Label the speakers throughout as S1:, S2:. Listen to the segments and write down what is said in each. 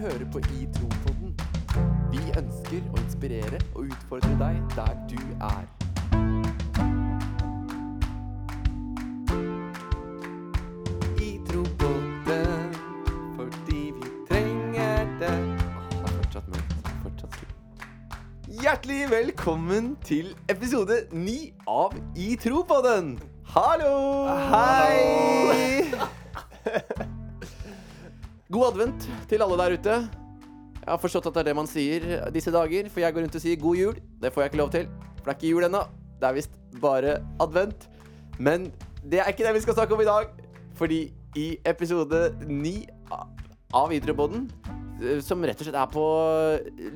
S1: hører på I Tropodden. Vi ønsker å inspirere og utfordre deg der du er. I Tropodden, fordi vi trenger det. Åh, det er fortsatt mørkt. det er Fortsatt skummelt. Hjertelig velkommen til episode 9 av I Tropodden. Hallo! Hei! God advent til alle der ute. Jeg har forstått at det er det man sier disse dager, for jeg går rundt og sier god jul. Det får jeg ikke lov til, for det er ikke jul ennå. Det er visst bare advent. Men det er ikke det vi skal snakke om i dag, fordi i episode ni a- av Idrettsboden, som rett og slett er på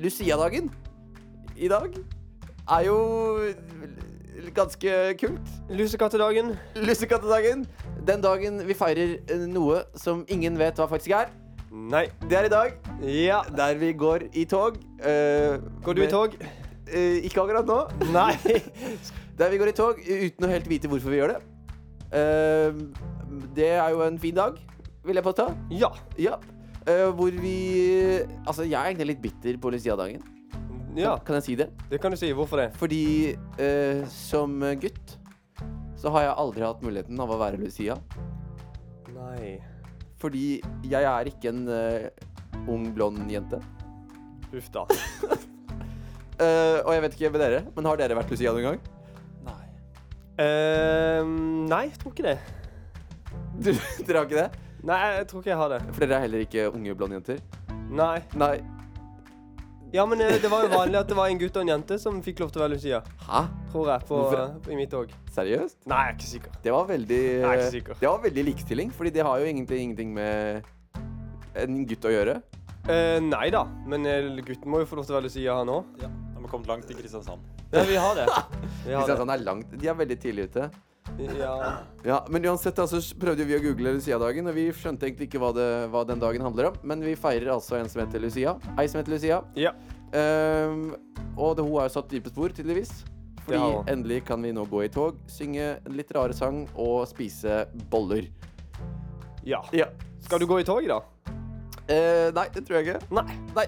S1: Lucia-dagen i dag, er jo l- ganske kult.
S2: Lusekattedagen.
S1: Lussekattedagen. Den dagen vi feirer eh, noe som ingen vet hva faktisk er.
S2: Nei.
S1: Det er i dag,
S2: Ja.
S1: der vi går i tog. eh,
S2: Går du i
S1: med-
S2: tog?
S1: eh, ikke akkurat nå.
S2: Nei.
S1: Der vi går i tog uten å helt vite hvorfor vi gjør det. Eh, det er jo en fin dag, vil jeg påstå.
S2: Ja.
S1: Ja. Eh, hvor vi Altså, jeg er egentlig litt bitter på Lucia-dagen.
S2: Ja,
S1: Kan jeg si det?
S2: det kan du si. Hvorfor det?
S1: Fordi eh, som gutt så har jeg aldri hatt muligheten av å være Lucia.
S2: Nei.
S1: Fordi jeg er ikke en eh, ung, blond jente.
S2: Uff da.
S1: Eh, og jeg vet ikke med dere, men har dere vært Lucia noen gang?
S2: Nei. Ehm, nei, jeg tror ikke det.
S1: Du, dere har ikke det?
S2: Nei, jeg tror ikke jeg har det.
S1: For dere er heller ikke unge blonde jenter?
S2: Nei.
S1: Nei.
S2: Ja, men eh, det var jo vanlig at det var en gutt og en jente som fikk lov til å være Lucia.
S1: Hæ?
S2: Tror jeg, på,
S1: Hvorfor?
S2: i mitt òg.
S1: Seriøst?
S2: Nei, jeg er ikke sikker.
S1: Det var veldig
S2: Jeg er ikke sikker.
S1: Det var veldig likestilling, fordi det har jo ingenting, ingenting med en gutt å gjøre.
S2: Eh, nei da, men eh, gutten må jo få lov til å være Lucia, han òg.
S3: Ja, de har kommet langt i Kristiansand.
S2: Ja, vi har det. Vi har det.
S1: Kristiansand er langt De er veldig tidlig ute.
S2: Ja.
S1: Ja, Men uansett da, så prøvde vi å google Lucia-dagen, og vi skjønte egentlig ikke hva, det, hva den dagen handler om. Men vi feirer altså en som heter Lucia. Ei som heter Lucia.
S2: ja.
S1: Ehm, og det, hun har jo satt dype spor, tydeligvis. Fordi
S2: Det har hun.
S1: endelig kan vi nå gå i tog, synge en litt rare sang og spise boller.
S2: Ja.
S1: Ja.
S2: Skal du gå i tog, da?
S1: Eh, nei, det tror jeg ikke.
S2: Nei.
S1: Nei.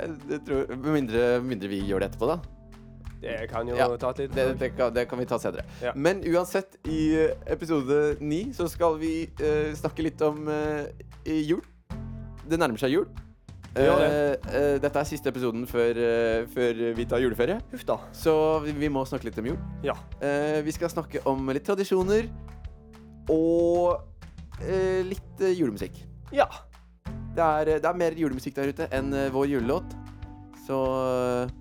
S1: Eh, Det tror, med mindre, med mindre vi gjør det etterpå, da.
S2: Det kan jo
S1: Ja,
S2: ta et lite
S1: Det, det, kan, det kan vi ta senere.
S2: Ja.
S1: Men uansett, i eh, episode ni så skal vi eh, snakke litt om eh, i jul. Det nærmer seg jul.
S2: gjør
S1: Eh, eh, dette er siste episoden før, eh, før vi tar juleferie,
S2: Huff da.
S1: så vi, vi må snakke litt om jul.
S2: Ja.
S1: Eh, vi skal snakke om litt tradisjoner og eh, litt eh, julemusikk.
S2: Ja.
S1: Det er, det er mer julemusikk der ute enn eh, vår julelåt. Så eh,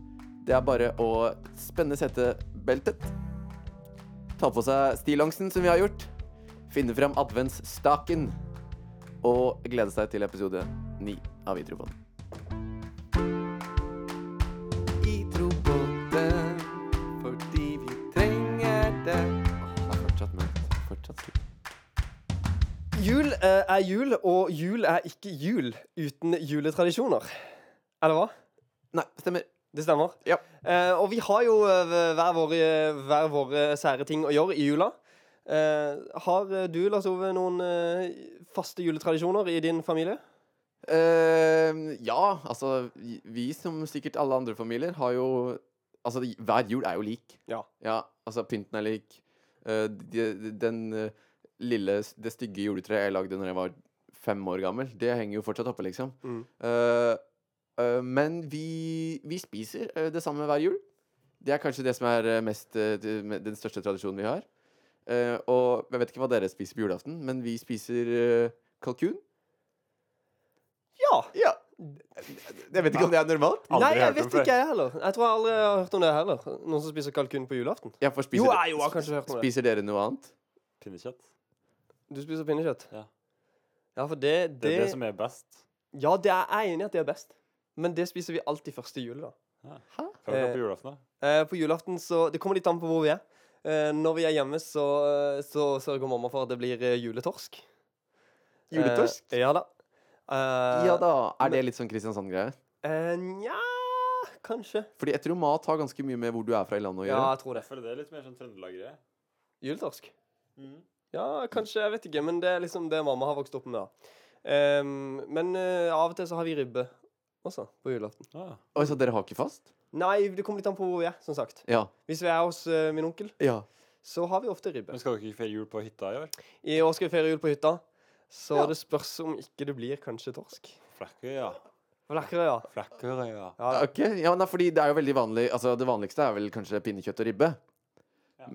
S1: det er bare å spenne setebeltet. Ta på seg stillongsen, som vi har gjort. Finne fram adventsstaken. Og glede seg til episode ni av Itrobåten. Itrobåten, fordi vi trenger det. Åh, det er fortsatt mørkt. det er Fortsatt skummelt.
S2: Jul eh, er jul, og jul er ikke jul uten juletradisjoner. Eller hva?
S1: Nei, stemmer.
S2: Det stemmer.
S1: Ja.
S2: Eh, og vi har jo eh, hver våre, hver våre sære ting å gjøre i jula. Eh, har eh, du, Lars Ove, noen eh, faste juletradisjoner i din familie?
S1: Eh, ja, altså Vi som sikkert alle andre familier har jo Altså, hver jul er jo lik.
S2: Ja.
S1: altså Pynten er lik. Eh, de, de, den eh, lille, det stygge juletreet jeg lagde når jeg var fem år gammel, det henger jo fortsatt oppe, liksom.
S2: Mm.
S1: Eh, eh, men vi, vi spiser eh, det samme hver jul. Det er kanskje det som er eh, mest, eh, det- me- den største tradisjonen vi har. Eh, og jeg vet ikke hva dere spiser på julaften, men vi spiser eh, kalkun.
S2: Ja.
S1: Ja. Jeg vet ikke om det er normalt.
S3: Aldri
S2: Nei, jeg
S3: hørt om
S2: vet
S3: før.
S2: ikke, jeg heller. Jeg tror jeg aldri har hørt om det heller. Noen som spiser kalkun på julaften?
S1: Jeg får spise
S2: Jo, jeg, jo, jeg har kanskje hørt om det.
S1: Spiser dere noe annet?
S3: Pinnekjøtt.
S2: Du spiser pinnekjøtt?
S3: Ja.
S2: Ja, for det, det,
S3: Det er det som er best.
S2: Ja, det er jeg enig i at det er best. Men det spiser vi alltid første jul, da.
S3: Hva har
S2: Eh,
S3: dere på julaften, da?
S2: Eh, på julaften så Det kommer litt an på hvor vi er. Eh, når vi er hjemme, så, eh, så sørger mamma for at det blir eh, juletorsk.
S1: Juletorsk?
S2: Eh, ja da. Eh,
S1: Ja da. Er det litt sånn Kristiansand-greie?
S2: Eh, nja Kanskje.
S1: Fordi jeg tror mat har ganske mye med hvor du er fra i landet å
S2: Ja,
S1: gjøre.
S2: jeg tror det.
S3: Jeg føler det er litt mer sånn Trøndelag-greie.
S2: Juletorsk?
S3: Mm.
S2: Ja, kanskje. Jeg vet ikke. Men det er liksom det mamma har vokst opp med. da. Ehm, men eh, av og til så har vi ribbe også på julaften.
S3: Ah.
S1: Oi, så dere har ikke fast?
S2: Nei, det kommer litt an på hvor vi er, som sagt.
S1: Ja.
S2: Hvis vi er hos eh, min onkel,
S1: ja.
S2: så har vi ofte ribbe.
S3: Men skal dere ikke feire jul på hytta i år?
S2: I år skal vi feire jul på hytta, så
S1: Ja.
S2: det spørs om ikke det blir kanskje torsk.
S3: Flekkerøya.
S2: Lekkerøy, ja.
S3: Flekkerøya.
S2: Ja,
S1: Ok, ja, nei, fordi det er jo veldig vanlig Altså, det vanligste er vel kanskje pinnekjøtt og ribbe.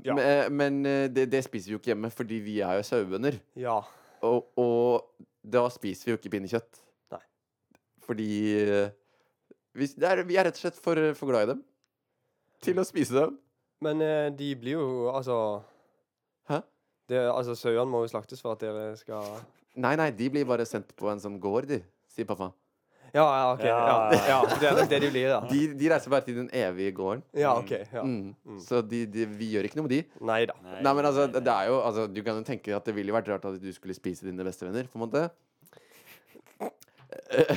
S2: Ja.
S1: Men, eh, men eh, det, det spiser vi jo ikke hjemme, fordi vi er jo sauebønder.
S2: ja.
S1: Og, og da spiser vi jo ikke pinnekjøtt.
S2: Nei.
S1: Fordi eh, vi, det er, vi er rett og slett for, for glad i dem til å spise dem.
S2: Men eh, de blir jo altså
S1: Hæ?
S2: Det, altså, Sauene må jo slaktes for at dere skal
S1: Nei, nei, de blir bare sendt på en sånn gård, de, sier pappa.
S2: Ja, ja, OK. Ja,
S3: Ja.
S2: ja, det er nok det de blir, ja.
S1: De, de reiser bare til den evige gården.
S2: Ja, OK. Ja.
S1: Mm. Så de, de, vi gjør ikke noe med de.
S2: Nei da.
S1: Nei, men altså, det er jo altså, Du kan jo tenke at det ville jo vært rart at du skulle spise dine bestevenner, på en måte.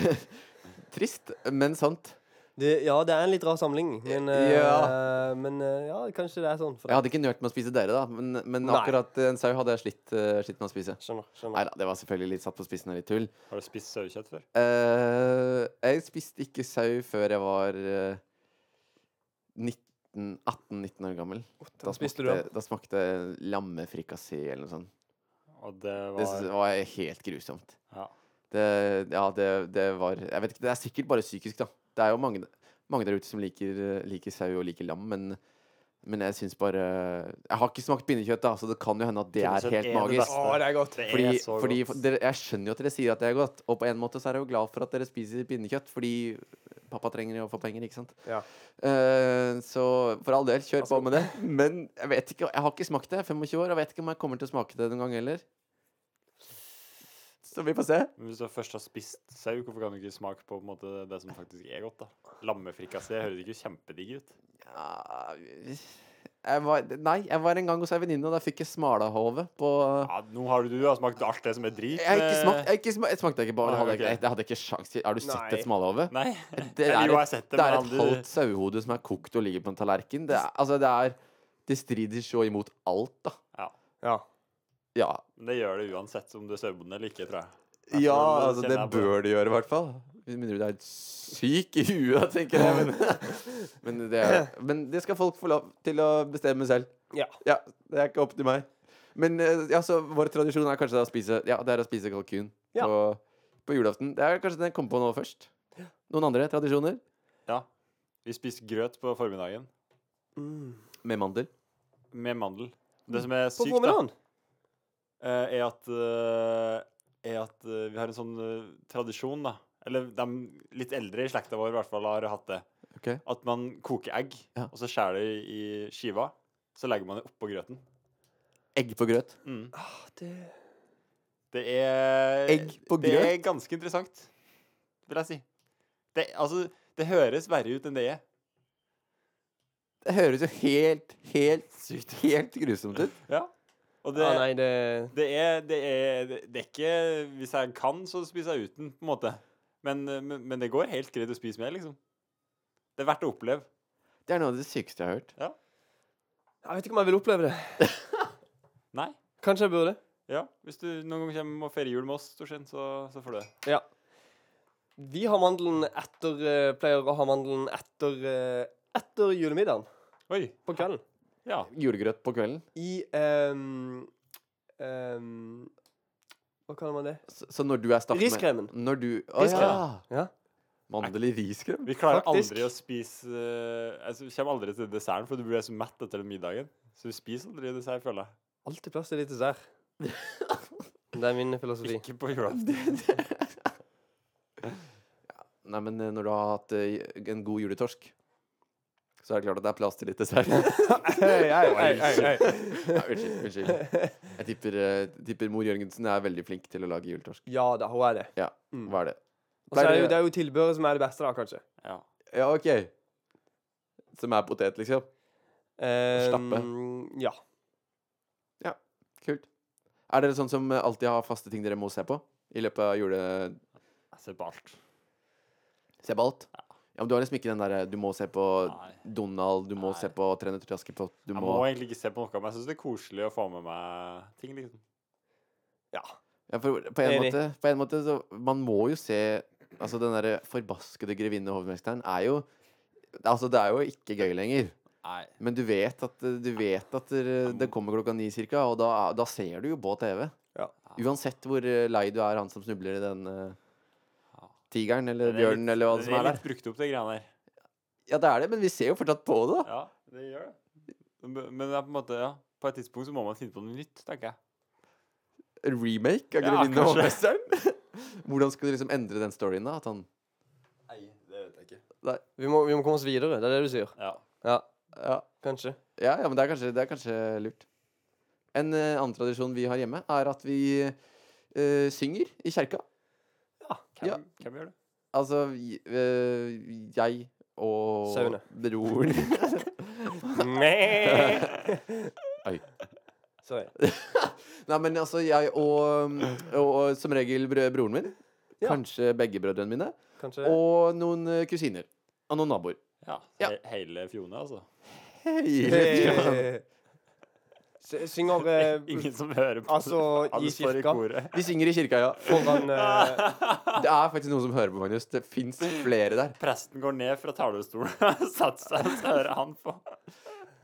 S1: Trist, men sant.
S2: Det, ja, det er en litt rar samling, men, eh,
S1: Ja.
S2: men eh, ja, kanskje det er sånn. For
S1: Jeg hadde ikke nølt med å spise dere, da, men, men
S2: Nei.
S1: akkurat en sau hadde jeg slitt, eh, slitt med å spise.
S2: Skjønner. skjønner.
S1: Nei da, det var selvfølgelig litt satt på spissen og litt tull.
S3: Har du spist sauekjøtt før?
S1: Eh, jeg spiste ikke sau før jeg var eh, 19 18-19 år gammel. Da
S2: spiste
S1: smakte,
S2: du
S1: da smakte lammefrikassé eller noe sånt.
S3: Og det
S1: Det synes
S3: var
S1: jeg var helt grusomt.
S3: ja.
S1: Det, ja, det, det var Jeg vet ikke, det er sikkert bare psykisk, da. Det er jo mange, mange der ute som liker, liker sau og liker lam, men, men jeg syns bare Jeg har ikke smakt pinnekjøtt, da, så det kan jo hende at det er
S3: Pinnekjøtt er
S1: helt
S3: det
S1: magisk.
S3: beste.
S2: Å, det er godt.
S3: Det er
S1: Fordi,
S3: så
S1: fordi
S3: godt.
S1: dere, Jeg skjønner jo at dere sier at det er godt, og på en måte så er jeg jo glad for at dere spiser pinnekjøtt, fordi pappa trenger jo å få penger, ikke sant?
S2: Ja.
S1: Eh, så for all del, kjør
S3: Altså,
S1: på med det. Men jeg vet ikke, jeg har ikke smakt det. Jeg er 25 år, og vet ikke om jeg kommer til å smake det noen gang heller. Så vi får se.
S3: Men hvis du først har spist sau, hvorfor kan du ikke smake på, på en måte, det som faktisk er godt? da? Lammefrikassé høres ikke kjempedigg ut.
S1: Ja, jeg var, nei, jeg var en gang hos ei venninne, og da fikk jeg smalahove på
S3: Ja, nå har du, du har smakt alt det som er drit. eh,
S1: Jeg har ikke
S3: med-
S1: smakt, jeg har ikke smakt, jeg smakte ikke på det.
S3: Nei,
S1: Hadde jeg,
S3: ok.
S1: ikke- jeg hadde ikke sjans til. Har du sett
S2: Nei.
S1: et smalahove?
S3: Nei.
S1: Det
S3: Eller
S1: er
S3: jo, jeg har
S1: et,
S3: sett
S1: det er et
S3: men aldri-
S1: halvt sauehode som er kokt og ligger på en tallerken. Det er, altså, det er Det strider så imot alt, da.
S3: Ja.
S2: Ja.
S1: Ja,
S3: Men Det gjør det uansett om du er sauebonde eller ikke, tror jeg. Jeg tror
S1: ja altså, det
S3: kjenner jeg på.
S1: bør det gjøre, i hvert fall. Med mindre du er helt syk i huet, tenker jeg. Men, men, det, er- men det skal folk få lov til å bestemme selv.
S2: Ja.
S1: Ja, det er ikke opp til meg. Men eh, ja, så vår tradisjon er kanskje da å spise Ja, det er å spise kalkun
S2: Ja.
S1: på, på julaften. Det er kanskje den jeg kom på nå først. Noen andre tradisjoner?
S3: Ja. Vi spiste grøt på formiddagen
S2: Mm.
S1: Med mandel.
S3: med mandel. Det som er
S2: På
S3: sykt, da,
S2: formiddagen.
S3: eh, er at, eh, er at eh, vi har en sånn eh, tradisjon, da. Eller de litt eldre i slekta vår i hvert fall har hatt det.
S1: Ok.
S3: At man koker egg,
S1: Ja.
S3: og så skjærer det i skiva. Så legger man det oppå grøten.
S1: Egg på grøt.
S3: Mm.
S2: Ah, det...
S3: Det er
S1: Egg på
S3: Det er
S1: grøt?
S3: ganske interessant, vil jeg si. Det, altså, det høres verre ut enn det er.
S1: Det høres jo helt, helt,
S3: Sykt.
S1: helt grusomt ut.
S3: Ja. Og det,
S2: Ja, Ah, nei, det
S3: det, er, det, er, det er ikke Hvis jeg kan, så spiser jeg uten, på en måte. Men, men, men det går helt greit å spise med, liksom. Det er verdt å oppleve.
S1: Det er noe av det sykeste jeg har hørt.
S2: Jeg vet ikke om jeg vil oppleve det.
S3: Nei.
S2: Kanskje jeg burde.
S3: Ja, Hvis du noen gang kommer og feirer jul med oss, Torstein, så, så får du det.
S2: Ja. Vi har mandelen etter eh, Pleier å ha mandelen etter eh, Etter julemiddagen
S3: Oi.
S2: på kvelden.
S3: Ja.
S1: Julegrøt på kvelden.
S2: I ehm, ehm, Hva kaller man det?
S1: Så, så når du er stappet
S2: Riskremen.
S1: med Når du Å ja.
S3: Riskremen.
S2: Ja.
S1: Mandel i riskrem?
S3: Vi klarer
S2: Faktisk.
S3: aldri å spise eh, altså, Vi kommer aldri til desserten, for du blir så mett etter den middagen. Så du spiser aldri dessert, føler jeg.
S2: Alltid plass til litt dessert. Det er min filosofi.
S3: Ikke på julaften.
S1: Nei, men eh, når du har hatt eh, en god juletorsk, så er det klart at det er plass til litt dessert.
S2: Hei, hei,
S1: Ja, unnskyld. unnskyld Jeg tipper, eh, tipper mor Jørgensen er veldig flink til å lage juletorsk.
S2: Ja da, hun er det.
S1: Ja,
S2: Mm.
S1: hva er det?
S2: Og så er det, jo-
S1: Pleier
S2: det
S1: dere-
S2: er jo tilbehøret som er det beste, da, kanskje.
S3: Ja.
S1: Ja, ok Som er potet, liksom?
S2: Ehm, ja.
S1: Kult. Er dere sånn som eh, alltid har faste ting dere må se på i løpet av jule...
S3: Jeg ser på alt.
S1: Se på alt? Ja, men du har liksom ikke den derre du må se på
S3: Nei.
S1: Donald, du må
S3: Nei.
S1: se på 3 nøtter til Askepott, du
S3: Jeg
S1: må
S3: må egentlig ikke se på noe, men jeg syns det er koselig å få med meg ting, liksom.
S2: ja.
S1: Ja, for på en,
S2: Enig.
S1: måte, på en måte så Man må jo se Altså, den derre forbaskede grevinne og hovmesteren er jo Altså, det er jo ikke gøy lenger.
S3: Nei.
S1: Men du vet at, eh, du vet at eh, det kommer klokka ni cirka, og da, da ser du jo på TV.
S2: Ja.
S1: Uansett hvor eh, lei du er han som snubler i den eh,
S3: Ja.
S1: tigeren eller
S3: Det er
S1: bjørnen
S3: litt-
S1: eller hva det som er
S3: Det er
S1: der.
S3: litt brukt opp, de greiene der.
S1: Ja, det er det, men vi ser jo fortsatt på det, da.
S3: Ja, det gjør det. Men men det er på en måte, ja. På et tidspunkt så må man finne på noe nytt, tenker jeg.
S1: En Remake av
S3: Ja,
S1: Grevinne og
S3: kanskje.
S1: hovmesteren. Hvordan skal du liksom endre den storyen, da? At han
S3: Nei, det vet jeg ikke.
S2: Vi må, vi må komme oss videre, det er det du sier.
S3: Ja.
S2: Ja,
S1: Ja,
S2: kanskje.
S1: ja, ja men det er, kanskje, det er kanskje lurt. En eh, annen tradisjon vi har hjemme, er at vi eh, synger i kjerka.
S3: Hvem,
S1: Ja.
S3: hvem gjør det?
S1: Altså, vi- eh, jeg og
S2: Saune.
S1: broren
S2: Nei.
S1: Oi.
S2: Sorry.
S1: Nei, men altså, jeg og, mm, og, og som regel brø- broren min.
S2: Ja.
S1: Kanskje begge brødrene mine.
S2: Kanskje
S1: Og noen eh, kusiner. Og noen naboer.
S3: Ja.
S1: Ja.
S3: he- Hele Fjone, altså.
S1: Hei!
S2: Hey. Eh, S- Synger eh,
S3: Ingen som hører på.
S2: Altså,
S3: Alle
S2: i
S3: står
S2: kirka.
S3: koret.
S1: De synger i kirka, ja.
S2: foran eh,
S1: Det er faktisk noen som hører på, Magnus. Det fins flere der.
S3: Presten går ned fra talerstolen og setter seg, så hører han på.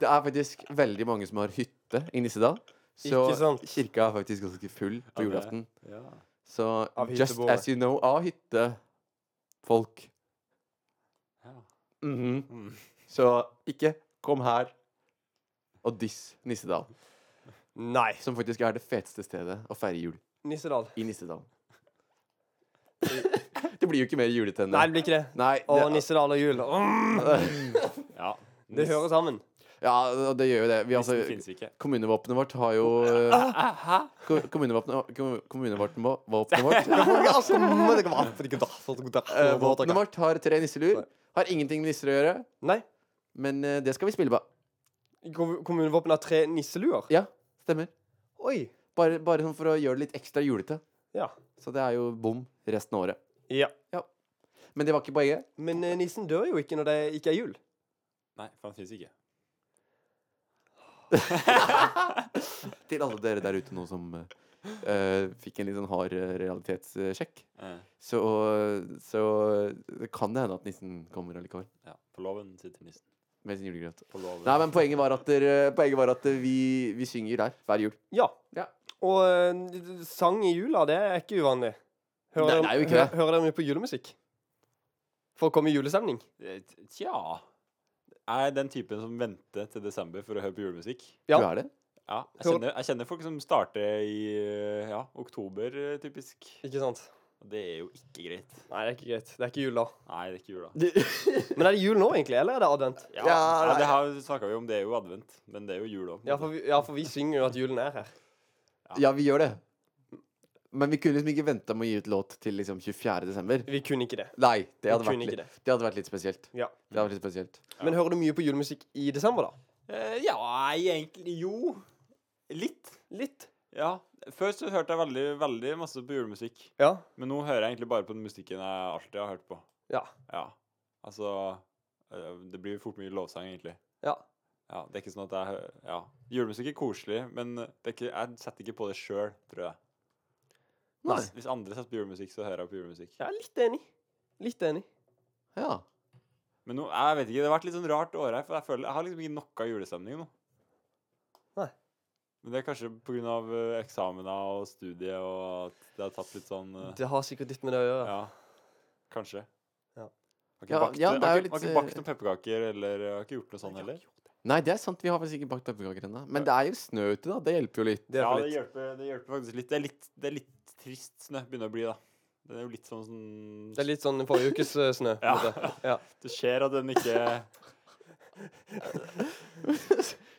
S1: Det er faktisk veldig mange som har hytte i Nissedal. Så
S2: Ikke sant?
S1: kirka er faktisk ganske full på
S3: Ja, det-
S1: julaften.
S3: Ja.
S1: Så
S2: Av
S1: just
S2: hytteboere.
S1: as you know av hyttefolk.
S3: Ja.
S1: Mhm.
S3: Mm.
S1: Så ikke kom her og diss Nissedal.
S2: Nei.
S1: Som faktisk er det feteste stedet å feire jul
S2: Nissedal.
S1: i Nissedal. det blir jo ikke mer julete enn det.
S2: Nei, det blir ikke det.
S1: Nei,
S2: Og
S1: det,
S2: Nissedal og jul. Mm.
S3: ja.
S2: Det hører sammen.
S1: ja, og det gjør jo det. Vi,
S3: altså,
S1: altså,
S3: finnes ikke.
S1: kommunevåpenet vårt har jo eh,
S3: Hæ?
S1: ko- Kommunevåpenet kom- kommunevåpenet vå- våpenet vårt eh, Våpenet vårt har tre nisselur. Har ingenting med nisser å gjøre,
S2: Nei.
S1: men eh, det skal vi spille på.
S2: Kom- Kommunevåpenet har tre nisseluer.
S1: Ja, stemmer.
S2: Oi.
S1: Bare, bare sånn for å gjøre det litt ekstra julete.
S2: Ja.
S1: Så det er jo bom resten av året.
S2: ja.
S1: Men det var ikke poenget.
S2: Men eh, nissen dør jo ikke når det ikke er jul.
S3: Nei, for han finnes ikke.
S1: Til alle dere der ute nå som eh, eh, fikk en litt sånn hard eh, realitetssjekk,
S3: Eh,
S1: så, så det kan det hende at nissen kommer allikevel
S3: ja. På låven sitter nissen.
S1: med sin julegrøt.
S3: På låven.
S1: Nei, men poenget var at, dere, poenget var at eh, vi, vi synger der hver jul.
S2: Ja.
S1: Ja.
S2: Og eh, sang i jula, det er ikke uvanlig.
S1: Nei,
S2: Hører,
S1: det er jo
S2: dere-
S1: ikke det.
S2: hø- hører dere mye på julemusikk? For å komme i julestemning?
S3: Eh, t- Tja Er jeg den typen som venter til desember for å høre på julemusikk?
S2: Ja.
S1: Du er det?
S3: Ja. Jeg
S2: Hør-
S3: kjenner, jeg kjenner folk som starter i eh, ja, oktober, eh, typisk.
S2: Ikke sant?
S3: Og det er jo ikke greit.
S2: Nei, det er ikke greit. Det er ikke jul da.
S3: Nei, det er ikke jul, da.
S2: Men er det jul nå, egentlig? Eller er det advent?
S3: Ja,
S1: Ja,
S3: ja,
S1: nei.
S3: det har snakka vi om. Det er jo advent, men det er jo jul òg.
S2: Ja, for vi, ja, for vi synger jo at julen er her.
S1: Ja, vi gjør det. Men vi kunne liksom ikke venta med å gi ut låt til liksom 24. desember.
S2: Vi kunne ikke det.
S1: Nei, det hadde,
S2: Vi kunne
S1: vært
S2: ikke
S1: litt,
S2: det.
S1: det hadde vært litt spesielt.
S2: Ja.
S1: Det hadde vært litt spesielt.
S2: Men hører du mye på julemusikk i desember, da?
S3: Eh, ja, nei, egentlig Jo. Litt.
S2: Litt.
S3: Ja. Før så hørte jeg veldig, veldig masse på julemusikk.
S2: Ja.
S3: Men nå hører jeg egentlig bare på den musikken jeg alltid har hørt på.
S2: Ja.
S3: Ja. Altså øh, Det blir fort mye lovsang, egentlig.
S2: Ja.
S3: Ja, det er ikke sånn at jeg hø- Ja. Julemusikk er koselig, men det er ikke, jeg setter ikke på det sjøl, tror jeg.
S1: Nei.
S3: Hvis, hvis andre setter på julemusikk, så hører jeg på julemusikk.
S2: Jeg er litt enig. Litt enig.
S1: Ja.
S3: Men nå, jeg vet ikke, det har vært litt sånn rart år her, for jeg føler Jeg har liksom ikke noe julestemning nå.
S2: Nei.
S3: Men det er kanskje pga. eksamener og studiet og at det har tatt litt sånn øh,
S2: Det har sikkert litt med det å gjøre.
S3: Ja. Kanskje.
S2: Ja.
S3: Har ikke
S1: Ja,
S3: bakt,
S1: ja, det er jo
S3: har ikke, har
S1: litt,
S3: ikke bakt noen pepperkaker eller har ikke gjort noe sånt heller.
S1: Nei, det er sant. Vi har faktisk ikke bakt pepperkaker ennå. Men det er jo snø ute, da. Det hjelper jo litt.
S2: Det er
S3: ja,
S2: for
S3: det
S2: litt.
S3: hjelper, det hjelper faktisk litt. Det er litt, det er litt trist snø begynner å bli, da. Det er jo litt sånn, sånn
S2: Det er litt sånn forrige ukes eh, snø. på en
S3: Ja.
S2: måte. ja.
S3: Det skjer at den ikke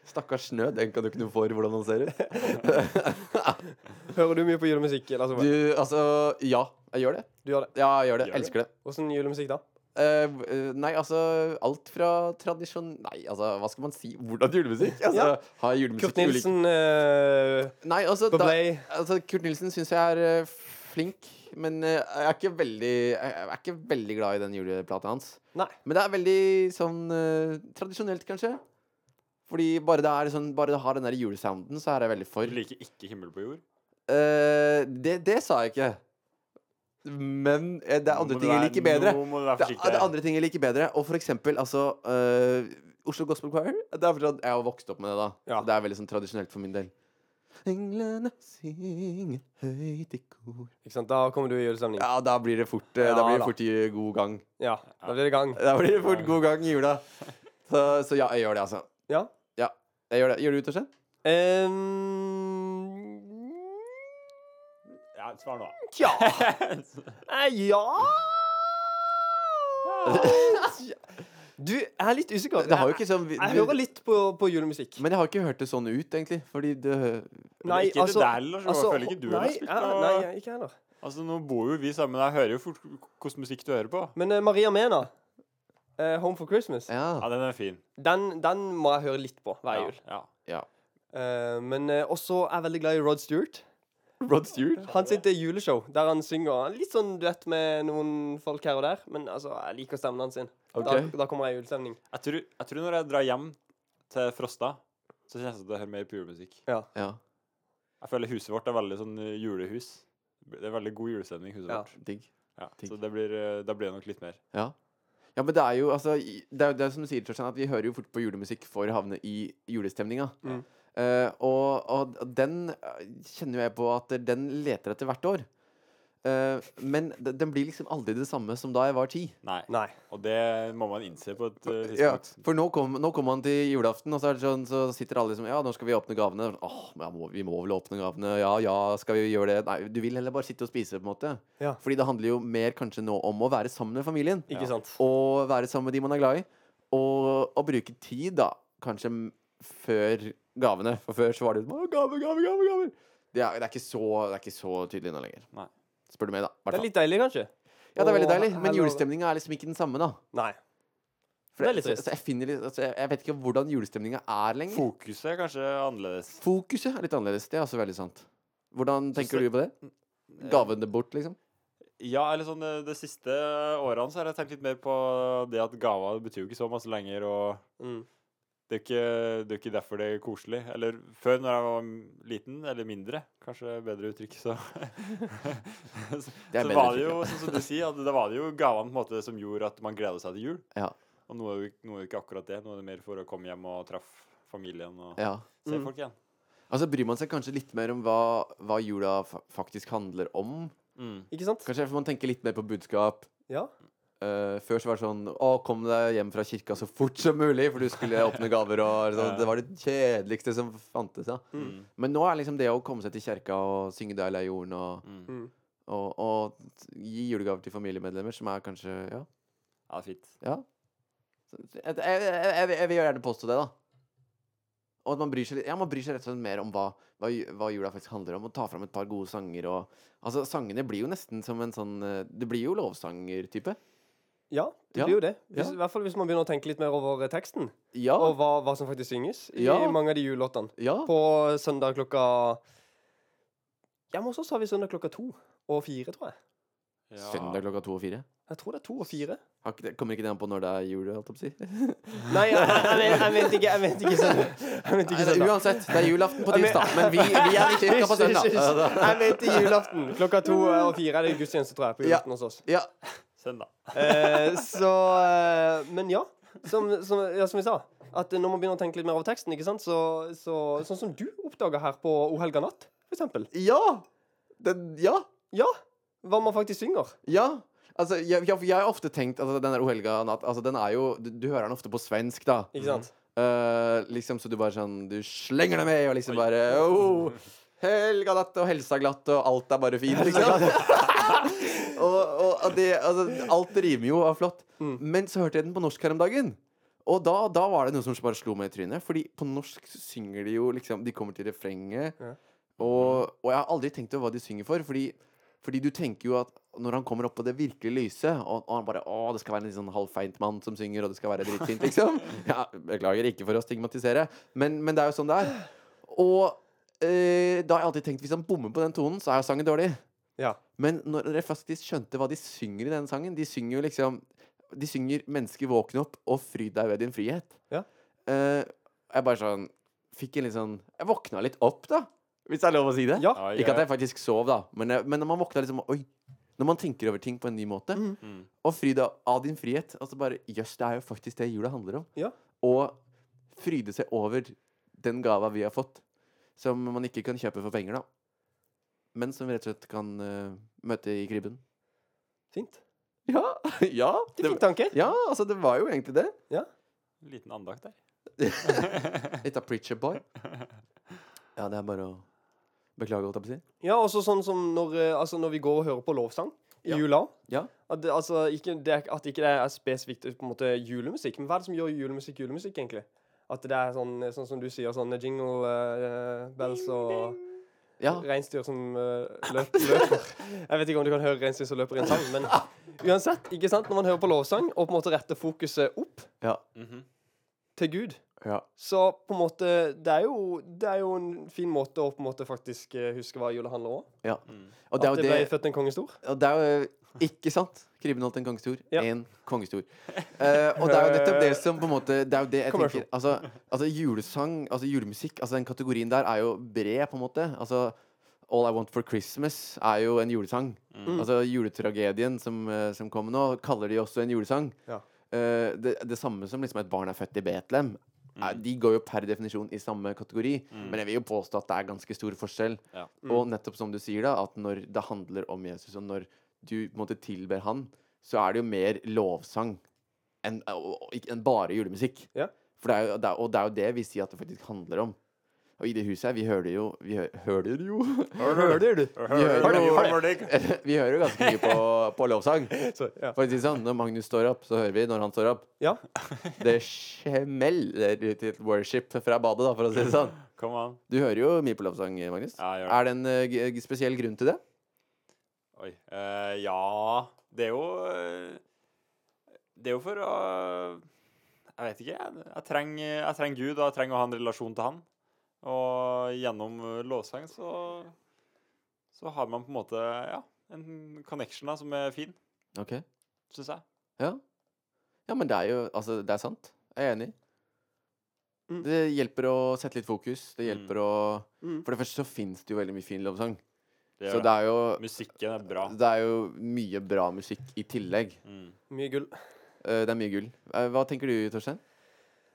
S1: Stakkars snø. Den kan du ikke noe for hvordan han ser ut.
S2: Hører du mye på julemusikk? Lasse?
S1: Du, altså Ja, jeg gjør det.
S2: du gjør det.
S1: Ja, jeg gjør det.
S3: Gjør du?
S1: Elsker det.
S2: Åssen julemusikk da?
S1: Eh, eh, nei, altså Alt fra tradisjon... Nei, altså, hva skal man si? Hvordan julemusikk? Altså,
S2: Ja.
S1: Har julemusikk
S2: Kurt Nilsen, eh,
S1: ulik- Nei, altså, da,
S2: Bobley
S1: altså Kurt Nilsen syns jeg er eh, flink, men eh, jeg, er ikke veldig, jeg er ikke veldig glad i den juleplata hans.
S2: Nei.
S1: Men det er veldig sånn eh, tradisjonelt, kanskje. Fordi bare det, er sånn, bare det har den der julesounden, så er jeg veldig
S3: Du
S1: for.
S3: liker ikke himmel på jord?
S1: eh, det, det sa jeg ikke. Men eh, det er andre
S3: Nå
S1: ting
S3: må du
S1: jeg
S3: være-
S1: liker bedre.
S3: Nå må du være
S1: Det
S3: forsiktig.
S1: er det andre ting jeg liker bedre. Og for eksempel, altså øh, Oslo Gospel Choir. Det er fortsatt, jeg har vokst opp med det, da.
S2: Ja.
S1: Så det er veldig sånn tradisjonelt for min del. Englene synger høyt i kor
S2: Ikke sant? Da kommer du i julestemning. Ja.
S1: Ja, da blir det fort, øh,
S2: Ja,
S1: da blir
S2: da.
S1: det fort i god gang.
S2: Da blir det gang.
S1: Da blir det fort god gang i jula. Så, så ja, jeg gjør det, altså.
S2: Ja.
S1: Ja, jeg gjør det. Gjør du det, Torstein?
S2: Ehm,
S3: Ja, svar nå.
S2: Tja Eh, Ja Du, jeg er litt usikker.
S1: Det har jo ikke sånn vi-
S2: Jeg, jeg
S1: du-
S2: hører litt på, på julemusikk.
S1: Men jeg har ikke hørt det sånn ut, egentlig. Fordi det
S3: Men ikke
S1: altså-
S3: det der, Lars, i hvert fall ikke du
S2: altså, nei,
S3: heller spilt
S2: ja,
S3: noe-
S2: nei, jeg- ikke heller.
S3: Altså, nå bor jo vi sammen, jeg hører jo fort hvordan musikk du hører på.
S2: Men eh, Maria Mena, eh, 'Home for Christmas',
S3: Ja,
S1: Ja.
S3: den er fin.
S2: den, den må jeg høre litt på hver
S3: Ja,
S2: jul.
S3: ja.
S1: ja.
S2: Eh, men eh, også er jeg veldig glad i Rod Stewart.
S1: Rod Stewart.
S2: Han sitt eh, juleshow der han synger litt sånn duett med noen folk her og der. Men altså, jeg liker stemmen hans. sin.
S1: Ok.
S2: Da, da kommer jeg i julestemning.
S3: Jeg, tror, jeg tror når jeg drar hjem til Frosta, så kjennes det som at jeg hører mer på julemusikk.
S1: Ja.
S3: Jeg føler huset vårt er veldig sånn eh, julehus. Det er veldig god julestemning, huset
S2: Ja.
S3: vårt.
S1: Digg.
S3: Ja,
S1: Digg.
S3: så det blir, eh, da blir det nok litt mer.
S1: Ja. ja, men det er jo altså, i- Det er jo det er som du sier, Torstein, at vi hører jo fort på julemusikk for å havne i julestemninga.
S2: Mm.
S1: Eh, og, og den eh, kjenner jo jeg på at den leter etter hvert år. Eh, men de- den blir liksom aldri det samme som da jeg var ti.
S3: Nei.
S2: Nei.
S3: Og det må man innse på et eh,
S1: Ja,
S3: tidspunkt.
S1: for nå kom- nå kommer man til julaften, og så, er det sånn, så sitter alle liksom Ja, nå skal vi åpne gavene. Åh, men ja, må, vi må vel åpne gavene. Ja, ja, skal vi gjøre det? Nei, du vil heller bare sitte og spise, på en måte.
S2: Ja.
S1: Fordi det handler jo mer kanskje nå om å være sammen med familien.
S2: Ikke sant?
S1: Og være sammen med de man er glad i. Og, og bruke tid, da, kanskje m- før gavene. For før så var det sånn «Å, gaver, gaver, gaver. gaver. Det, er, det, er ikke så, det er ikke så tydelig nå lenger.
S3: Nei.
S1: Spør du meg, da.
S2: Det
S1: Hvertfall.
S2: er litt deilig, kanskje?
S1: ja, det er veldig
S2: Å,
S1: deilig. Men
S2: hello.
S1: julestemninga er liksom ikke den samme, da.
S2: Nei.
S1: For
S2: Det er litt
S1: så-
S2: trist.
S1: så jeg, finner, litt- altså, jeg, jeg vet ikke hvordan julestemninga er lenger.
S3: Fokuset er kanskje annerledes.
S1: Fokuset er litt annerledes. Det er også veldig sant. Hvordan tenker
S3: se-
S1: du på det? Gavene bort, liksom?
S3: Eh, Ja, eller sånn eh, de siste årene så har jeg tenkt litt mer på det at gaver betyr jo ikke så masse lenger, og
S2: Mm.
S3: det er, jo ikke, det er jo ikke derfor det er koselig. Eller før, når jeg var liten, eller mindre, kanskje bedre uttrykk, så Så,
S1: Det er
S3: så
S1: bedre
S3: var
S1: uttrykk,
S3: det jo, sånn som du sier, at da var det jo gavene på en måte som gjorde at man gleda seg til jul.
S1: Ja.
S3: Og nå er jo nå er jo ikke akkurat det. Nå er det mer for å komme hjem og treffe familien og
S1: ja.
S3: se
S2: Mm.
S3: folk igjen.
S1: Altså bryr man seg kanskje litt mer om hva, hva jula fa faktisk handler om.
S3: Mm.
S2: Ikke sant?
S1: Kanskje man tenker litt mer på budskap.
S2: Ja.
S1: Eh, før så var det sånn Å, kom deg hjem fra kirka så fort som mulig, for du skulle åpne gaver. Og sånn. Det var det kjedeligste som fantes. Da.
S3: Mm.
S1: Men nå er liksom det å komme seg til kjerka og synge 'Deilig er jorden' og,
S3: Mm.
S2: Mm.
S1: og, og gi julegaver til familiemedlemmer, som er kanskje Ja.
S3: Ja, det er fint.
S1: ja. Så Jeg, jeg, jeg, jeg, vil- jeg vil gjerne påstå det, da. Og at man bryr seg, litt- ja, man bryr seg rett og slett mer om hva, hva, ju- hva jula faktisk handler om, og ta fram et par gode sanger. Og, altså, sangene blir jo nesten som en sånn eh, Det blir jo lovsanger-type.
S2: Ja, det
S1: Ja.
S2: blir jo det. Hvis,
S1: Ja.
S2: I hvert fall hvis man begynner å tenke litt mer over eh, teksten.
S1: Ja.
S2: Og hva, hva som faktisk synges i
S1: Ja.
S2: mange av de julelåtene.
S1: ja.
S2: På søndag klokka Ja, men hos oss har vi søndag klokka to og fire, tror jeg.
S3: Ja.
S1: Søndag klokka to og fire.
S2: Jeg tror det er to og fire.
S1: Har ikke det- Kommer ikke det an på når det er jul? Holdt jeg på å si.
S2: Nei, jeg, jeg, vet, jeg vet ikke. Jeg vet ikke søndag. Jeg
S1: Nei,
S2: vet ikke
S1: det er
S2: søndag.
S1: uansett, det er julaften på
S2: Ja, men-
S1: tirsdag, men vi, vi er i kirka på
S2: Hysj, hysj,
S1: søndag.
S2: hysj. Jeg mente julaften. Klokka to og fire er det gudstjeneste, tror jeg, på
S1: Ja.
S2: julaften hos oss.
S1: Ja.
S3: Søndag.
S2: Eh, så eh, Men ja. Som, som, ja, som vi sa, at når man begynner å tenke litt mer over teksten, ikke sant, så, så Sånn som du oppdaga her på O helga natt, for eksempel.
S1: Ja! Den, ja.
S2: Ja. Hva man faktisk synger.
S1: Ja. Altså, jeg, jeg, jeg har ofte tenkt altså, Den der O helga natt altså, den er jo, du, du hører den ofte på svensk, da.
S2: Ikke sant?
S1: Eh, liksom, så du bare sånn Du slenger deg med, og liksom bare oh, Helga natt og helsa glatt, og alt er bare fint. Liksom. og og og det, altså, alt rimer jo og er flott.
S2: Mm.
S1: Men så hørte jeg den på norsk her om dagen. Og da, da var det noe som bare slo meg i trynet. Fordi på norsk så synger de jo liksom De kommer til refrenget.
S2: Ja.
S1: Og, og jeg har aldri tenkt over hva de synger for. Fordi, fordi du tenker jo at når han kommer opp på det virkelig lyse, og, og han bare Å, det skal være en litt sånn halvfeint mann som synger, og det skal være dritfint, liksom. Ja, beklager, ikke for å stigmatisere, men, men det er jo sånn det er. Og eh, da har jeg alltid tenkt hvis han bommer på den tonen, så er jo sangen dårlig.
S2: Ja.
S1: Men når jeg faktisk skjønte hva de synger i denne sangen De synger jo liksom De synger 'Mennesker våkne opp og fryd deg ved din frihet'.
S2: Ja.
S1: Eh, jeg bare sånn Fikk en litt sånn Jeg våkna litt opp, da. Hvis det er lov å si det?
S2: Ja.
S3: Ja,
S1: Ikke at
S3: ja.
S1: jeg faktisk sov, da, men, jeg- men når man våkna liksom Oi. Når man tenker over ting på en ny måte.
S3: Mm.
S1: Og fryd av- av din frihet. Altså bare Jøss, det er jo faktisk det jula handler om.
S2: Ja.
S1: Og fryde seg over den gava vi har fått, som man ikke kan kjøpe for penger, da. Men som rett og slett kan eh, møte i krybben.
S2: Fint.
S1: Ja! ja
S2: Det er fin tanke.
S1: ja, altså, det var jo egentlig det.
S3: Liten andakt der.
S1: Litt av preacher boy. Ja, det er bare å beklage, holdt jeg på å si.
S2: Ja, også sånn som når, eh, altså når vi går og hører på lovsang i
S1: Ja.
S2: jula.
S1: Ja.
S2: At, det- altså, ikke, det er, ikke- at ikke det er spesifikt på en måte julemusikk. Men hva er det som gjør julemusikk julemusikk, egentlig? At det er sånn, sånn som du sier, sånn jingle eh, bells og
S1: Ja.
S2: reinsdyr som eh, løp, løper. Jeg vet ikke om du kan høre reinsdyr som løper i en sang, men uansett, ikke sant? Når man hører på lovsang og på en måte retter fokuset opp
S1: Ja.
S3: Mhm.
S2: til Gud,
S1: ja.
S2: så på en måte Det er jo, det er jo en fin måte å på en måte faktisk eh, huske hva jula handler om.
S1: ja.
S3: Mm.
S1: Og det
S2: At
S1: er
S2: det
S1: jo
S2: ble
S1: det
S2: født en konge stor.
S1: Og det er jo eh, ikke sant. Kribben holdt en kongestor.
S2: Ja.
S1: En kongestor. Eh, og det er jo nettopp det som på en måte Det er jo det jeg
S2: Commercial.
S1: tenker. Altså, altså julesang, altså julemusikk, altså den kategorien der er jo bred, på en måte. Altså All I Want for Christmas er jo en julesang.
S3: Mm.
S1: Altså juletragedien som, eh, som kom nå, kaller de også en julesang.
S2: Ja.
S1: Eh, det, det samme som liksom et barn er født i Betlehem. Eh, De går jo per definisjon i samme kategori, men jeg vil jo påstå at det er ganske stor forskjell.
S3: Ja.
S1: Og nettopp som du sier, da, at når det handler om Jesus, og når du på en måte tilber han, så er det jo mer lovsang enn og- og ikke- enn bare julemusikk.
S2: Ja.
S1: For det er jo, det er, og det er jo det vi sier at det faktisk handler om. Og i det huset her, vi hører det jo Vi hø- hører det jo
S2: Hører du?
S1: Vi hører jo,
S3: Kommer deg.
S1: vi hører jo ganske mye på, på lovsang.
S2: Så, ja.
S1: For å si det sånn, når Magnus står opp, så hører vi når han står opp.
S2: ja.
S1: Det smeller ut i et worship fra badet, da, for å si det sånn.
S3: Come on.
S1: Du hører jo mye på lovsang, Magnus.
S3: Ja, jeg gjør det.
S1: er det en eh, g- spesiell grunn til det?
S3: Oi. Eh, ja Det er jo eh, Det er jo for å Jeg vet ikke. Jeg, jeg, trenger, jeg trenger Gud, og jeg trenger å ha en relasjon til han. Og gjennom eh, lovsang så Så har man på en måte Ja, en connection da som er fin,
S1: Ok.
S3: syns jeg.
S1: Ja. ja, men det er jo Altså, det er sant. Jeg er enig.
S2: Mm.
S1: Det hjelper å sette litt fokus. Det
S3: Mm.
S1: hjelper å
S2: Mm.
S1: For det første så fins det jo veldig mye fin lovsang.
S3: Det
S1: så
S3: gjør
S1: det
S3: det.
S1: er jo
S3: Musikken er bra.
S1: Det er jo mye bra musikk i tillegg.
S3: Mm.
S2: Mye gull.
S1: Eh, Det er mye gull. Eh, Hva tenker du, Torstein?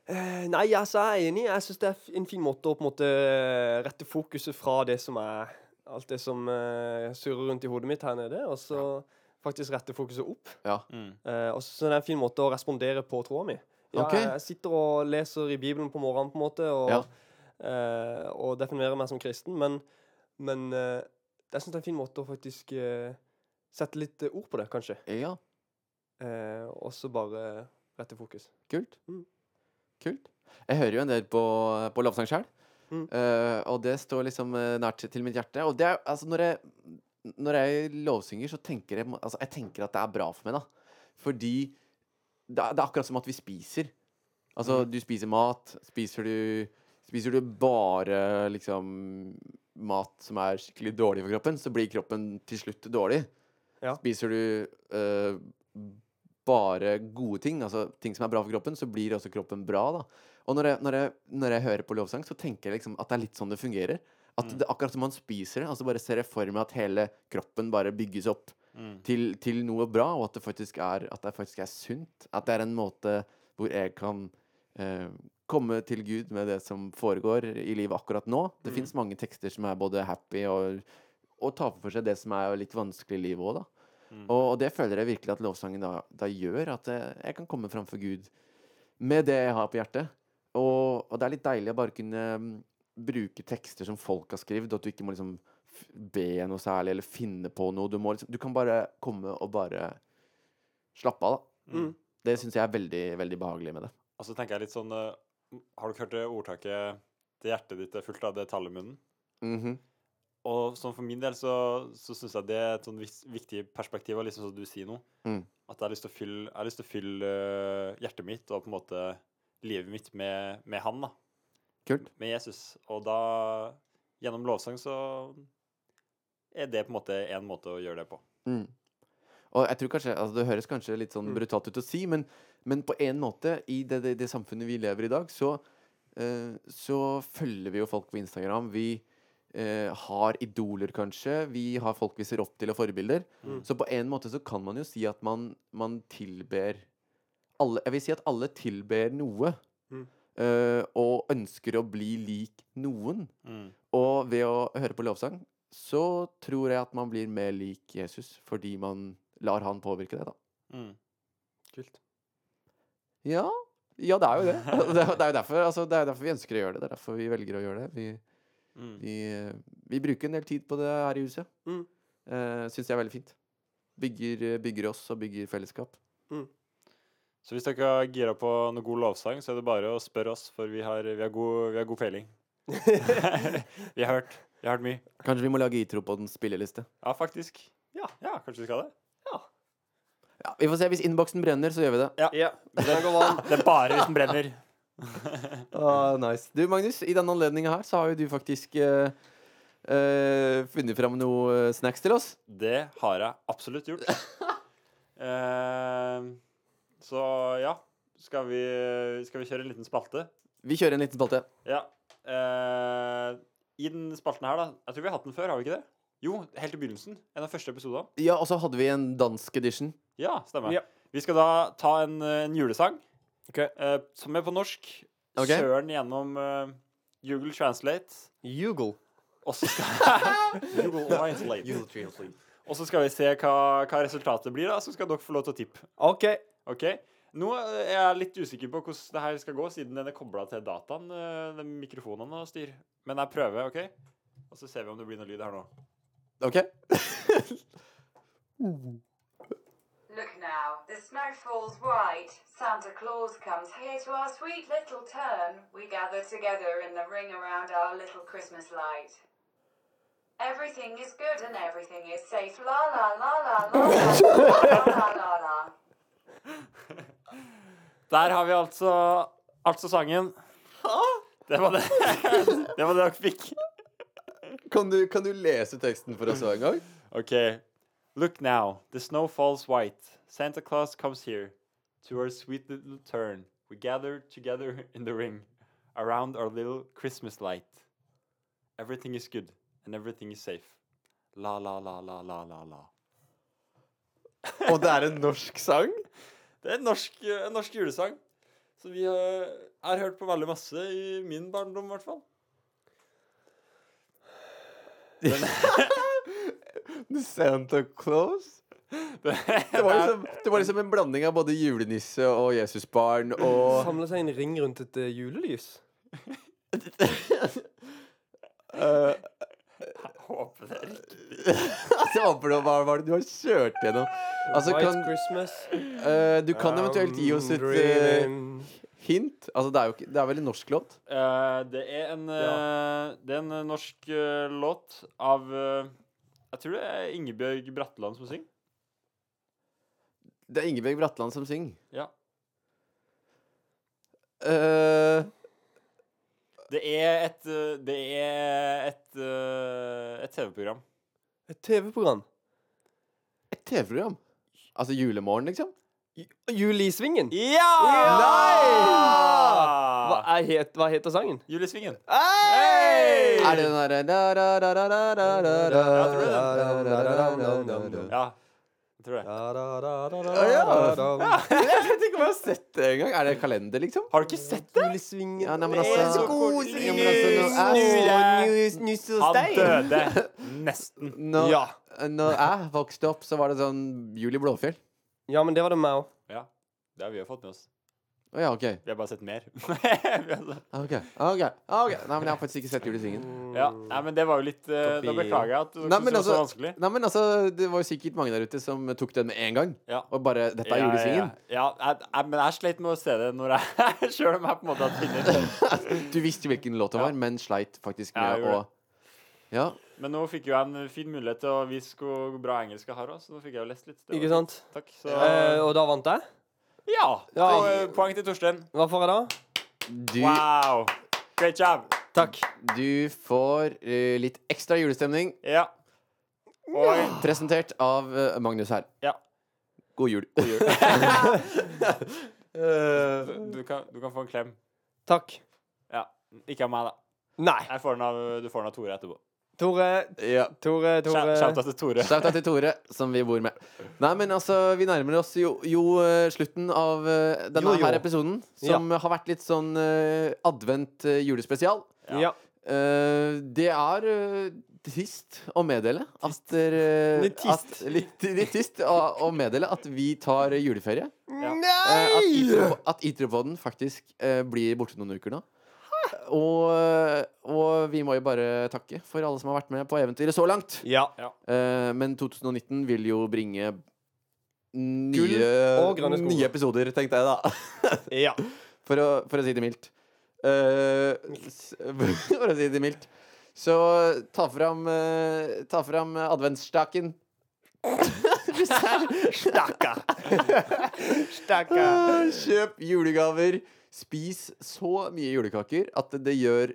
S2: Eh, nei, altså, jeg er enig. Jeg syns det er f- en fin måte å på en måte rette fokuset fra det som er Alt det som eh, surrer rundt i hodet mitt her nede, og så faktisk rette fokuset opp.
S1: Ja.
S3: Mm.
S2: Eh, og så synes jeg det er en fin måte å respondere på troa mi. Ja,
S1: Ok.
S2: Jeg sitter og leser i Bibelen på morgenen, på en måte, og,
S1: Ja.
S2: eh, og definerer meg som kristen, men, men eh, jeg syns det er en fin måte å faktisk eh, sette litt eh, ord på det, kanskje.
S1: Ja.
S2: Eh, og så bare rette fokus.
S1: Kult.
S2: Mm.
S1: Kult. Jeg hører jo en del på, på lovsang sjøl,
S2: Mm.
S1: og det står liksom eh, nært til mitt hjerte. Og det er altså når jeg, når jeg lovsynger, så tenker jeg, altså, jeg tenker at det er bra for meg, da. Fordi det er, det er akkurat som at vi spiser. Altså, du spiser mat. Spiser du, spiser du bare liksom mat som er skikkelig dårlig for kroppen, så blir kroppen til slutt dårlig.
S2: Ja.
S1: Spiser du eh, bare gode ting, altså ting som er bra for kroppen, så blir også kroppen bra, da. Og når jeg, når jeg, når jeg hører på lovsang, så tenker jeg liksom at det er litt sånn det fungerer. At det er akkurat som man spiser det, altså bare ser jeg for meg at hele kroppen bare bygges opp
S3: Mm.
S1: til, til noe bra, og at det, faktisk er, at det faktisk er sunt. At det er en måte hvor jeg kan eh, komme til Gud med det som foregår i livet akkurat nå. Det finnes mange tekster som er både happy og, og tar for seg det som er litt vanskelig i livet òg, da. Og, og det føler jeg virkelig at lovsangen da, da gjør, at jeg, jeg kan komme framfor Gud med det jeg har på hjertet. Og, og det er litt deilig å bare kunne mm, bruke tekster som folk har skrevet, og at du ikke må liksom f- be noe særlig eller finne på noe. Du, må liksom, du kan bare komme og bare slappe av, da.
S2: Mm.
S1: Det syns jeg er veldig, veldig behagelig med det.
S3: Og så tenker jeg litt sånn eh, Har dere hørt det ordtaket 'Det hjertet ditt er fullt av, det tallet i munnen'?
S1: Mhm.
S3: Og sånn for min del så, så syns jeg det er et sånn vis- viktig perspektiv, og liksom som du sier nå,
S1: Mm.
S3: at jeg har lyst til å fylle, jeg har lyst til å fylle øh, hjertet mitt og på en måte livet mitt med, med han, da.
S1: Kult.
S3: Med Jesus. Og da, gjennom lovsang, så er det på en måte en måte å gjøre det på.
S1: Mm. Og jeg tror kanskje, altså Det høres kanskje litt sånn
S2: Mm.
S1: brutalt ut å si, men, men på en måte, i det, det, det samfunnet vi lever i i dag, så, eh, så følger vi jo folk på Instagram. Vi, eh, har idoler, kanskje. Vi har folk vi ser opp til og forbilder.
S2: Mm.
S1: Så på en måte så kan man jo si at man, man tilber alle, Jeg vil si at alle tilber noe.
S2: Mm.
S1: eh, og ønsker å bli lik noen.
S3: Mm.
S1: Og ved å høre på lovsang så tror jeg at man blir mer lik Jesus fordi man lar han påvirke det, da.
S3: Mm.
S2: Kult.
S1: Ja, ja det er jo det. Altså, Det er, det er jo derfor, altså, det er derfor vi ønsker å gjøre det. Det er derfor vi velger å gjøre det. Vi,
S3: Mm.
S1: vi, eh, vi bruker en del tid på det her i huset.
S2: Mm.
S1: Eh, Syns jeg er veldig fint. Bygger, eh, bygger oss og bygger fellesskap.
S3: Så hvis dere er gira på noe god lovsang, så er det bare å spørre oss, for vi har, vi har, god, vi har god peiling. vi har hørt. Vi har hørt mye.
S1: Kanskje vi må lage intro på den spilleliste.
S3: Ja, faktisk.
S2: Ja.
S3: ja kanskje vi skal det.
S1: Ja, vi får se. Hvis innboksen brenner, så gjør vi det.
S2: Ja. Den går varm.
S3: Det er bare hvis den brenner.
S1: Ah, nice. Du, Magnus, i denne anledninga her så har jo du faktisk eh, eh, funnet fram noe eh, snacks til oss.
S3: Det har jeg absolutt gjort. Eh, så ja, skal vi, skal vi kjøre en liten spalte?
S1: Vi kjører en liten spalte.
S3: Ja. Eh, I den spalten her, da. Jeg tror vi har hatt den før, har vi ikke det? Jo, helt i begynnelsen. En av første episodene.
S1: Ja, og så hadde vi en dansk edition.
S3: Ja, stemmer.
S2: Ja.
S3: Vi skal da ta en, eh, en julesang
S2: Ok.
S3: eh, som er på norsk.
S1: Ok.
S3: Kjøre den gjennom eh, Google Translate.
S2: Jugal.
S3: Og så skal Google Translate. Og så skal vi se hva, hva resultatet blir, da. Så skal dere få lov til å tippe.
S2: OK.
S3: Ok. Nå eh, er jeg litt usikker på hvordan det her skal gå, siden den er kobla til dataen. øh, Den mikrofonen og styr. Men jeg prøver, OK? Og så ser vi om det blir noe lyd her nå.
S1: Ok?
S4: Look now, the snow falls white. Santa Claus comes here to our sweet little turn. We gather together in the ring around our little Christmas light. Everything is good and everything is safe. La la la la la la la la la la.
S3: Der har vi altså altså sangen. Det var det. Det var det dere fikk.
S1: Kan du, kan du lese teksten for oss en gang?
S3: OK. Look now, the snow falls white. Santa Claus comes here. To our sweet little turn, we gather together in the ring around our little Christmas light. Everything is good and everything is safe. La la la la la la la.
S1: Og det er en norsk sang?
S3: Det er en norsk, en norsk julesang som vi har, har hørt på veldig masse i min barndom, i hvert fall.
S1: Santa Claus? Det var, liksom, det var liksom en blanding av både julenisse og Jesusbarn og
S2: Samle seg i en ring rundt et eh, julelys.
S1: Eh,
S3: Jeg håper det er riktig.
S1: Jeg håper det var hva er det du har kjørt gjennom. Altså,
S2: White
S1: kan,
S2: Christmas.
S1: eh, du kan eventuelt gi oss et eh,
S2: Dreaming.
S1: hint. Altså, det er jo ikke, det er vel en norsk låt?
S3: Eh, det er en, eh, det er en eh, norsk eh, låt av eh, Jeg tror det er Ingebjørg Bratland som synger.
S1: Det er Ingebjørg Bratland som synger.
S3: Ja.
S1: Eh,
S3: Det er et eh, Det er et, eh, et TV-program.
S2: Et TV-program.
S1: et TV-program. Altså Julemorgen, liksom?
S2: Ju- Julisvingen.
S3: Ja!
S2: Hva,
S3: Nei!
S2: er het, hva heter sangen?
S3: Julesvingen.
S2: Hey!
S1: Er det den derre
S3: Ja, jeg tror det.
S1: Jeg vet ikke om jeg har sett det engang. Er det kalender, liksom?
S3: Har du ikke sett det?
S2: Julesvingen.
S1: Ja, nei, men
S3: altså-
S2: Det er så koselig.
S3: Ja, men altså, nå-
S2: Snurre.
S3: Han døde nesten.
S1: Når,
S2: Ja.
S1: når jeg vokste opp, så var det sånn jul i Blåfjell.
S2: Ja, men det var det meg òg.
S3: Ja. Det har vi jo fått med oss.
S1: Å ja, OK.
S3: Vi har bare sett mer. Vi har sett-
S1: ok, ok, ok Nei, men jeg har faktisk ikke sett jul i svingen.
S3: Mm. ja. Nei, men det var jo litt eh, Da
S2: Kopi.
S3: beklager jeg at du
S1: Nei,
S3: syntes
S1: men
S3: det var så
S1: altså-
S3: vanskelig.
S1: Nei, men altså, det var jo sikkert mange der ute som tok den med en gang.
S3: Ja.
S1: Og bare 'Dette er
S3: Ja,
S1: julesvingen'.
S3: Ja, ja. ja jeg, jeg, men jeg slet med å se det når jeg Sjøl om jeg på en måte hadde funnet det.
S1: Du visste hvilken låt det var, men sleit faktisk
S3: Ja, jeg
S1: med å
S3: gjorde
S1: Ja.
S3: Men nå fikk jo jeg en fin mulighet til å vise hvor bra engelsk jeg har òg, så nå fikk jeg jo lest litt. Det var
S2: Ikke sant?
S3: fint. Takk. Så
S2: Eh, og da vant jeg.
S3: ja.
S2: ja.
S3: og, eh, Poeng til Torstein.
S2: Hva får jeg da?
S1: Du,
S3: Wow. Great job.
S2: Takk.
S1: du får eh, litt ekstra julestemning
S3: Ja. Og
S1: presentert av eh, Magnus her.
S3: Ja.
S1: God jul.
S3: du, du, kan, du kan få en klem.
S2: Takk.
S3: Ja. Ikke av meg, da.
S2: Nei.
S3: Jeg får den av, du får den av Tore etterpå.
S2: Tore,
S1: Ja.
S2: Tore, Tore.
S3: Shout-out til Tore.
S1: Shout-out til Tore, som vi bor med. Nei, men altså, vi nærmer oss jo, jo eh, slutten av eh, denne
S2: Jo, jo.
S1: her episoden, som har vært litt sånn eh, advent eh, julespesial.
S2: Ja.
S1: Eh, det er eh, trist å meddele at eh,
S2: Litt trist.
S1: At, litt, litt trist å, å meddele at vi tar juleferie. Eh, at
S2: Nei!
S1: Itro- at Itropodden faktisk eh, blir borte noen uker nå. Eh, Og, eh, og vi må jo bare takke for alle som har vært med på eventyret så langt.
S2: Ja.
S1: Eh, men 2019 vil jo bringe
S2: Gull
S1: nye,
S2: og grønne skoger.
S1: nye episoder, tenkte jeg da.
S2: Ja.
S1: For å, for å si det mildt. Eh, s- for å si det mildt. Så ta fram, eh, ta fram adventsstaken.
S2: Stakkar. Stakkar.
S1: Eh, Kjøp julegaver. Spis så mye julekaker at det gjør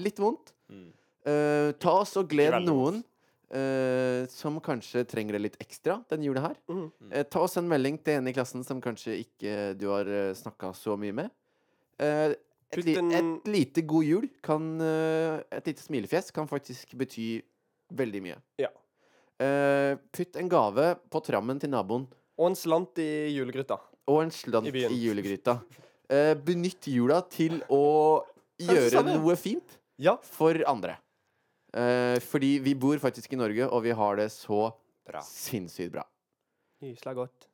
S1: litt vondt.
S3: Mm.
S1: Eh, ta oss og gled
S3: veldig
S1: noen
S3: vondt.
S1: eh, som kanskje trenger det litt ekstra denne jula her.
S2: Mhm.
S1: Eh, ta oss en melding til en i klassen som kanskje ikke du har uh, snakka så mye med. Eh, et,
S2: Putt
S1: li
S2: en-
S1: et lite god jul kan eh, Et lite smilefjes kan faktisk bety veldig mye.
S2: Ja.
S1: Eh, putt en gave på trammen til naboen
S2: Og en slant i julegryta.
S1: og en slant
S2: I
S1: i,
S2: byen.
S1: julegryta. Eh, benytt jula til å gjøre
S2: sa det.
S1: noe fint
S2: Ja.
S1: for andre. Eh, fordi vi bor faktisk i Norge, og vi har det så
S3: Bra.
S1: sinnssykt bra.
S2: Gysla godt.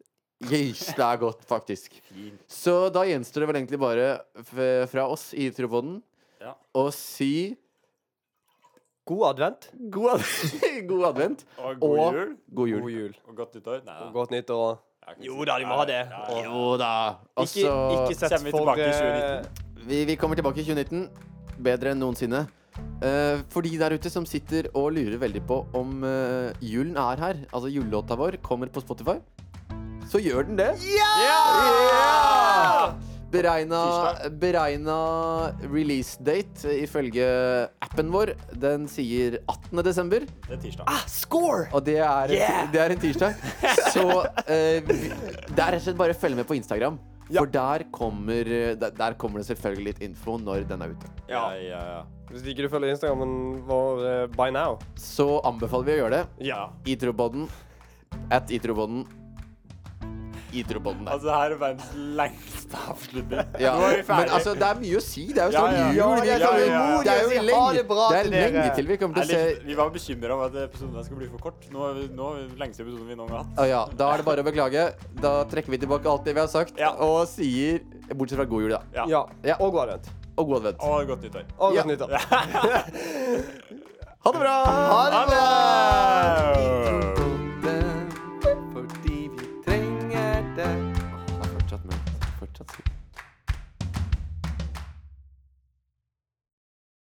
S1: Gøysla er godt, faktisk.
S3: Fint.
S1: Så da gjenstår det vel egentlig bare f- fra oss i Tropoden
S3: Ja.
S1: å si
S2: God advent.
S1: god, ad god advent
S3: Og god
S1: og
S3: jul.
S1: god
S2: God
S1: jul.
S2: jul.
S3: Og godt nyttår. Nei
S2: Og
S3: da.
S2: godt nyttår. og-
S3: Jeg kan
S2: Jo
S3: si-
S2: da, de må ha det.
S3: Ja, ja, ja.
S1: Jo da.
S2: Ikke,
S1: Altså,
S2: ikke sett
S3: Kommer vi
S2: for
S3: tilbake i
S2: eh,
S1: vi, vi kommer tilbake i 2019 bedre enn noensinne. Eh, for de der ute som sitter og lurer veldig på om eh, julen er her, altså julelåta vår kommer på Spotify, så gjør den det. Ja! Beregna, beregna release date eh, ifølge appen vår. Den sier 18. desember,
S3: Det er tirsdag.
S2: Ah, score!
S1: og det er,
S2: Yeah!
S1: det er en tirsdag. Så eh, vi- det er rett og slett bare å følge med på Instagram.
S2: Ja.
S1: For der kommer, eh, der, der kommer det selvfølgelig litt info når den er ute.
S3: Ja, ja, ja.
S2: Hvis ikke du følger Instagrammen vår eh, by now.
S1: Så anbefaler vi å gjøre det.
S2: Ja.
S1: Idrobodden. At Idrobodden. Idrobodden der.
S3: Altså, det her er verdens lengste avslutning.
S1: Ja,
S3: Nå er vi
S1: men
S3: ferdig.
S1: altså, det er mye å si. Det er jo
S3: Ja,
S1: snart
S3: ja.
S1: jul.
S3: Ja,
S1: vi er
S3: ja,
S1: sånn-
S3: ja, ja.
S1: Det er
S2: Jeg
S1: jo
S2: sier ha det
S1: lenge,
S2: bra
S1: det er
S2: til
S1: lenge
S2: dere.
S1: til vi kommer
S3: Jeg
S1: til å
S3: er litt,
S1: se
S3: vi var bekymra om at episoden her skulle bli for kort. Nå er vi, nå er vi den lengste episoden vi noen gang har hatt.
S1: Å ja, Da er det bare å beklage. Da trekker vi tilbake alt det vi har sagt,
S3: Ja.
S1: og sier Bortsett fra god jul, da.
S3: Ja.
S2: Ja.
S1: Ja.
S2: Og god advent.
S1: Og god advent.
S3: Og godt nyttår.
S2: Og
S1: Ja.
S2: godt nyttår.
S1: Ha det bra!
S2: Ha det bra!
S1: Idrobodden, Fordi vi trenger det. Åh, det er Fortsatt ment. Fortsatt sikkert.